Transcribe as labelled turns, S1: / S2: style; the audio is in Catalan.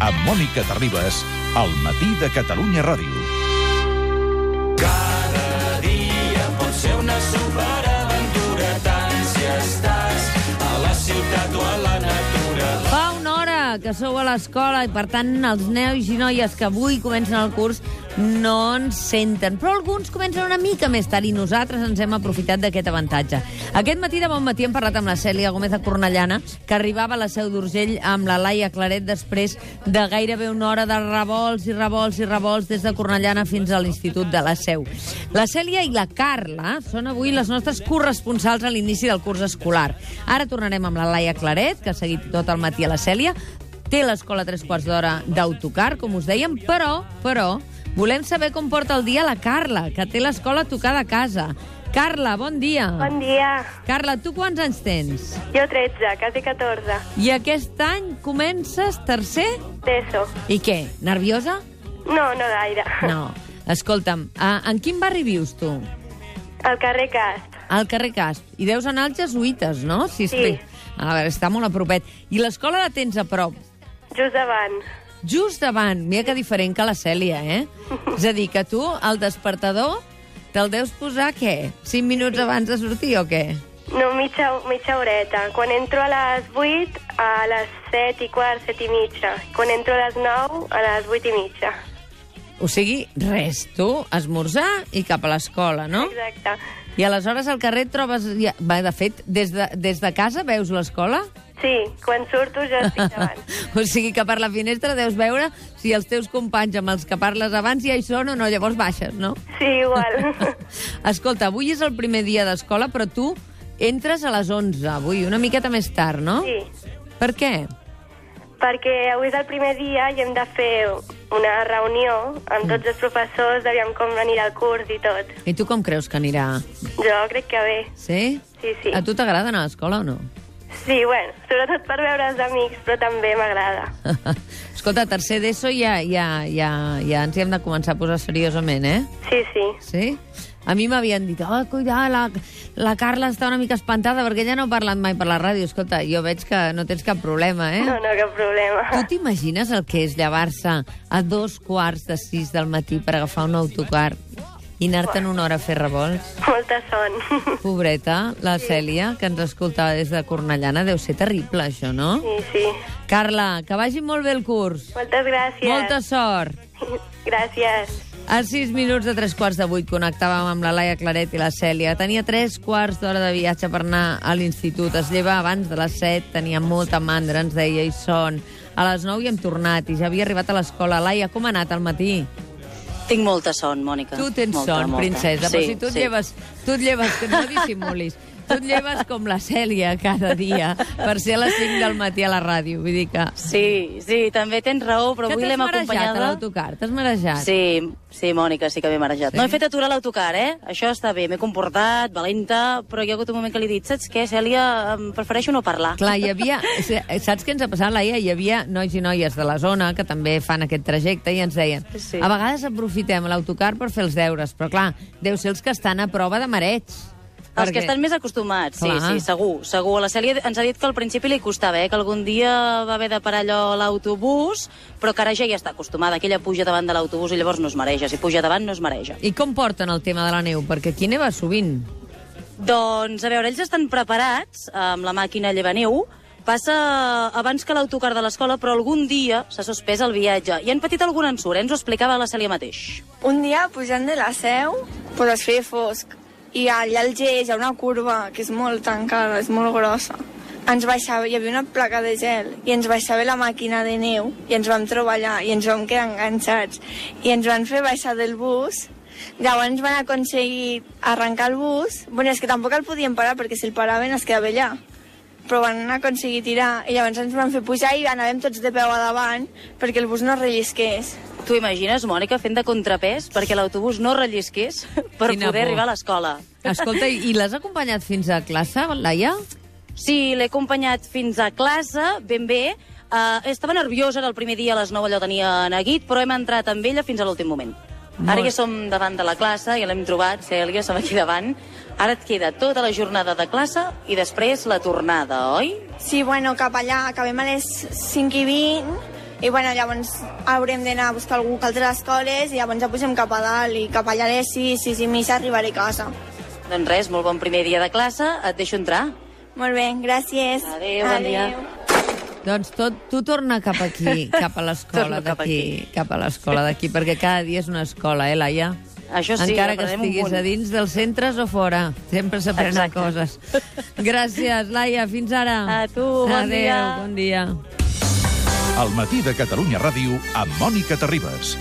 S1: amb Mònica Terribas al matí de Catalunya Ràdio.
S2: Cada dia pot ser una superaventura tant si estàs a la ciutat o a la natura.
S3: Fa una hora que sou a l'escola i, per tant, els neus i noies que avui comencen el curs no ens senten. Però alguns comencen una mica més tard i nosaltres ens hem aprofitat d'aquest avantatge. Aquest matí de bon matí hem parlat amb la Cèlia Gómez de Cornellana, que arribava a la Seu d'Urgell amb la Laia Claret després de gairebé una hora de revolts i revolts i revolts des de Cornellana fins a l'Institut de la Seu. La Cèlia i la Carla són avui les nostres corresponsals a l'inici del curs escolar. Ara tornarem amb la Laia Claret, que ha seguit tot el matí a la Cèlia. Té l'escola a tres quarts d'hora d'autocar, com us dèiem, però, però, volem saber com porta el dia la Carla, que té l'escola a tocar de casa. Carla, bon dia.
S4: Bon dia.
S3: Carla, tu quants anys tens?
S4: Jo 13, quasi 14.
S3: I aquest any comences tercer?
S4: D'ESO.
S3: I què, nerviosa?
S4: No, no gaire.
S3: No. Escolta'm, a, en quin barri vius tu?
S4: Al carrer Cast.
S3: Al carrer Casp. I deus anar als jesuïtes, no? Si
S4: Sí.
S3: espe- A veure, està molt a propet. I l'escola la tens a prop?
S4: Just davant.
S3: Just davant. Mira que diferent que la Cèlia, eh? És a dir, que tu, el despertador, te'l deus posar, què? 5 minuts abans de sortir o què?
S4: No, mitja, mitja horeta. Quan entro a les 8, a les 7 i quart, 7 i mitja. Quan entro a les 9, a les 8 i mitja.
S3: O sigui, res, tu, esmorzar i cap a l'escola, no?
S4: Exacte.
S3: I aleshores al carrer et trobes... ja- Va, de fet, des de, des de casa veus l'escola?
S4: Sí, quan surto ja estic davant.
S3: o sigui que per la finestra deus veure si els teus companys amb els que parles abans ja hi són o no, llavors baixes, no?
S4: Sí, igual.
S3: Escolta, avui és el primer dia d'escola, però tu entres a les 11, avui, una miqueta més tard, no?
S4: Sí,
S3: Per què?
S4: perquè avui és el primer dia i hem de fer una reunió amb tots els professors, d'aviam com anirà el curs i tot.
S3: I tu com creus que anirà?
S4: Jo crec que bé.
S3: Sí?
S4: Sí, sí.
S3: A tu t'agrada anar a l'escola o no?
S4: Sí, bueno, sobretot per veure els amics, però també m'agrada.
S3: Escolta, tercer d'ESO ja, ja, ja, ja ens hi hem de començar a posar seriosament, eh?
S4: Sí, sí.
S3: Sí? A mi m'havien dit, oh, cuidar, la, la Carla està una mica espantada perquè ella no parla mai per la ràdio. Escolta, jo veig que no tens cap problema, eh?
S4: No, no, cap
S3: Tu
S4: problema.
S3: t'imagines el que és llevar-se a dos quarts de sis del matí per agafar un autocar i anar-te'n una hora a fer revolts?
S4: Molta son.
S3: Pobreta, la Cèlia, que ens escoltava des de Cornellana, deu ser terrible, això, no?
S4: Sí, sí.
S3: Carla, que vagi molt bé el curs.
S4: Moltes gràcies.
S3: Molta sort.
S4: Gràcies.
S3: A 6 minuts de 3 quarts de 8 connectàvem amb la Laia Claret i la Cèlia. Tenia 3 quarts d'hora de viatge per anar a l'institut. Es lleva abans de les 7, tenia molta mandra, ens deia, i son. A les 9 hi hem tornat i ja havia arribat a l'escola. Laia, com ha anat al matí?
S5: Tinc molta son, Mònica.
S3: Tu tens
S5: molta,
S3: son,
S5: molta.
S3: princesa, però si tu et lleves... Tu et lleves, que no dissimulis. Tu et lleves com la Cèlia cada dia per ser a les 5 del matí a la ràdio. Vull dir que...
S5: Sí, sí, també tens raó, però
S3: que
S5: avui
S3: t'has
S5: l'hem
S3: marejat a
S5: acompanyada...
S3: l'autocar, t'has marejat.
S5: Sí, sí, Mònica, sí que m'he marejat.
S3: Sí?
S5: No he fet aturar l'autocar, eh? Això està bé, m'he comportat, valenta, però hi ha hagut un moment que li he dit, saps què, Cèlia, Em prefereixo no parlar.
S3: Clar, hi havia... Saps què ens ha passat, Laia? Hi havia nois i noies de la zona que també fan aquest trajecte i ens deien
S5: Sí.
S3: a vegades aprofitem l'autocar per fer els deures, però clar, deu ser els que estan a prova de mareig.
S5: Els que estan més acostumats, sí,
S3: Clar.
S5: sí, segur, segur. La Cèlia ens ha dit que al principi li costava, eh? que algun dia va haver de parar allò a l'autobús, però que ara ja hi està acostumada, que ella puja davant de l'autobús i llavors no es mareja, si puja davant no es mareja.
S3: I com porten el tema de la neu? Perquè aquí neva sovint.
S5: Doncs, a veure, ells estan preparats eh, amb la màquina llevaneu. Passa abans que l'autocar de l'escola, però algun dia s'ha suspès el viatge. I han patit algun ensurt, eh? ens ho explicava la Cèlia mateix.
S6: Un dia, pujant de la seu, pues es feia fosc. I allà al geix hi ha una curva que és molt tancada, és molt grossa. Ens baixava, hi havia una placa de gel i ens baixava la màquina de neu i ens vam trobar allà i ens vam quedar enganxats i ens van fer baixar del bus Llavors van aconseguir arrencar el bus. Bueno, és que tampoc el podien parar perquè si el paraven es quedava allà. Però van aconseguir tirar i llavors ens van fer pujar i anàvem tots de peu a davant perquè el bus no rellisqués.
S5: T'ho imagines, Mònica, fent de contrapès perquè l'autobús no rellisqués per
S3: Quina
S5: poder
S3: por.
S5: arribar a l'escola?
S3: Escolta, i i l'has acompanyat fins a classe, Laia?
S5: Sí, l'he acompanyat fins a classe, ben bé. Uh, estava nerviosa, era el primer dia a les 9, allò tenia neguit, però hem entrat amb ella fins a l'últim moment.
S3: Molt.
S5: Ara ja som davant de la classe, ja l'hem trobat, Cèlia, som aquí davant. Ara et queda tota la jornada de classe i després la tornada, oi?
S6: Sí, bueno, cap allà acabem a les 5 i 20 I bueno, llavors haurem d'anar a buscar algú que altres escoles i llavors ja pugem cap a dalt i cap allà a les 6, 6 i mitja arribaré a casa.
S5: Doncs res, molt bon primer dia de classe, et deixo entrar.
S6: Molt bé, gràcies.
S5: Adéu, bon dia.
S3: Doncs tot, tu torna cap aquí, cap a l'escola
S5: Torno cap
S3: d'aquí. Cap a l'escola d'aquí, perquè cada dia és una escola, eh, Laia?
S5: Això sí,
S3: Encara que
S5: n'aprenem un
S3: estiguis
S5: munt.
S3: a dins dels centres o fora. Sempre s'aprenen
S5: Exacte.
S3: coses. Gràcies, Laia. Fins ara.
S5: A tu, bon
S3: Adéu,
S5: dia.
S3: bon dia.
S1: El matí de Catalunya Ràdio amb Mònica Terribas.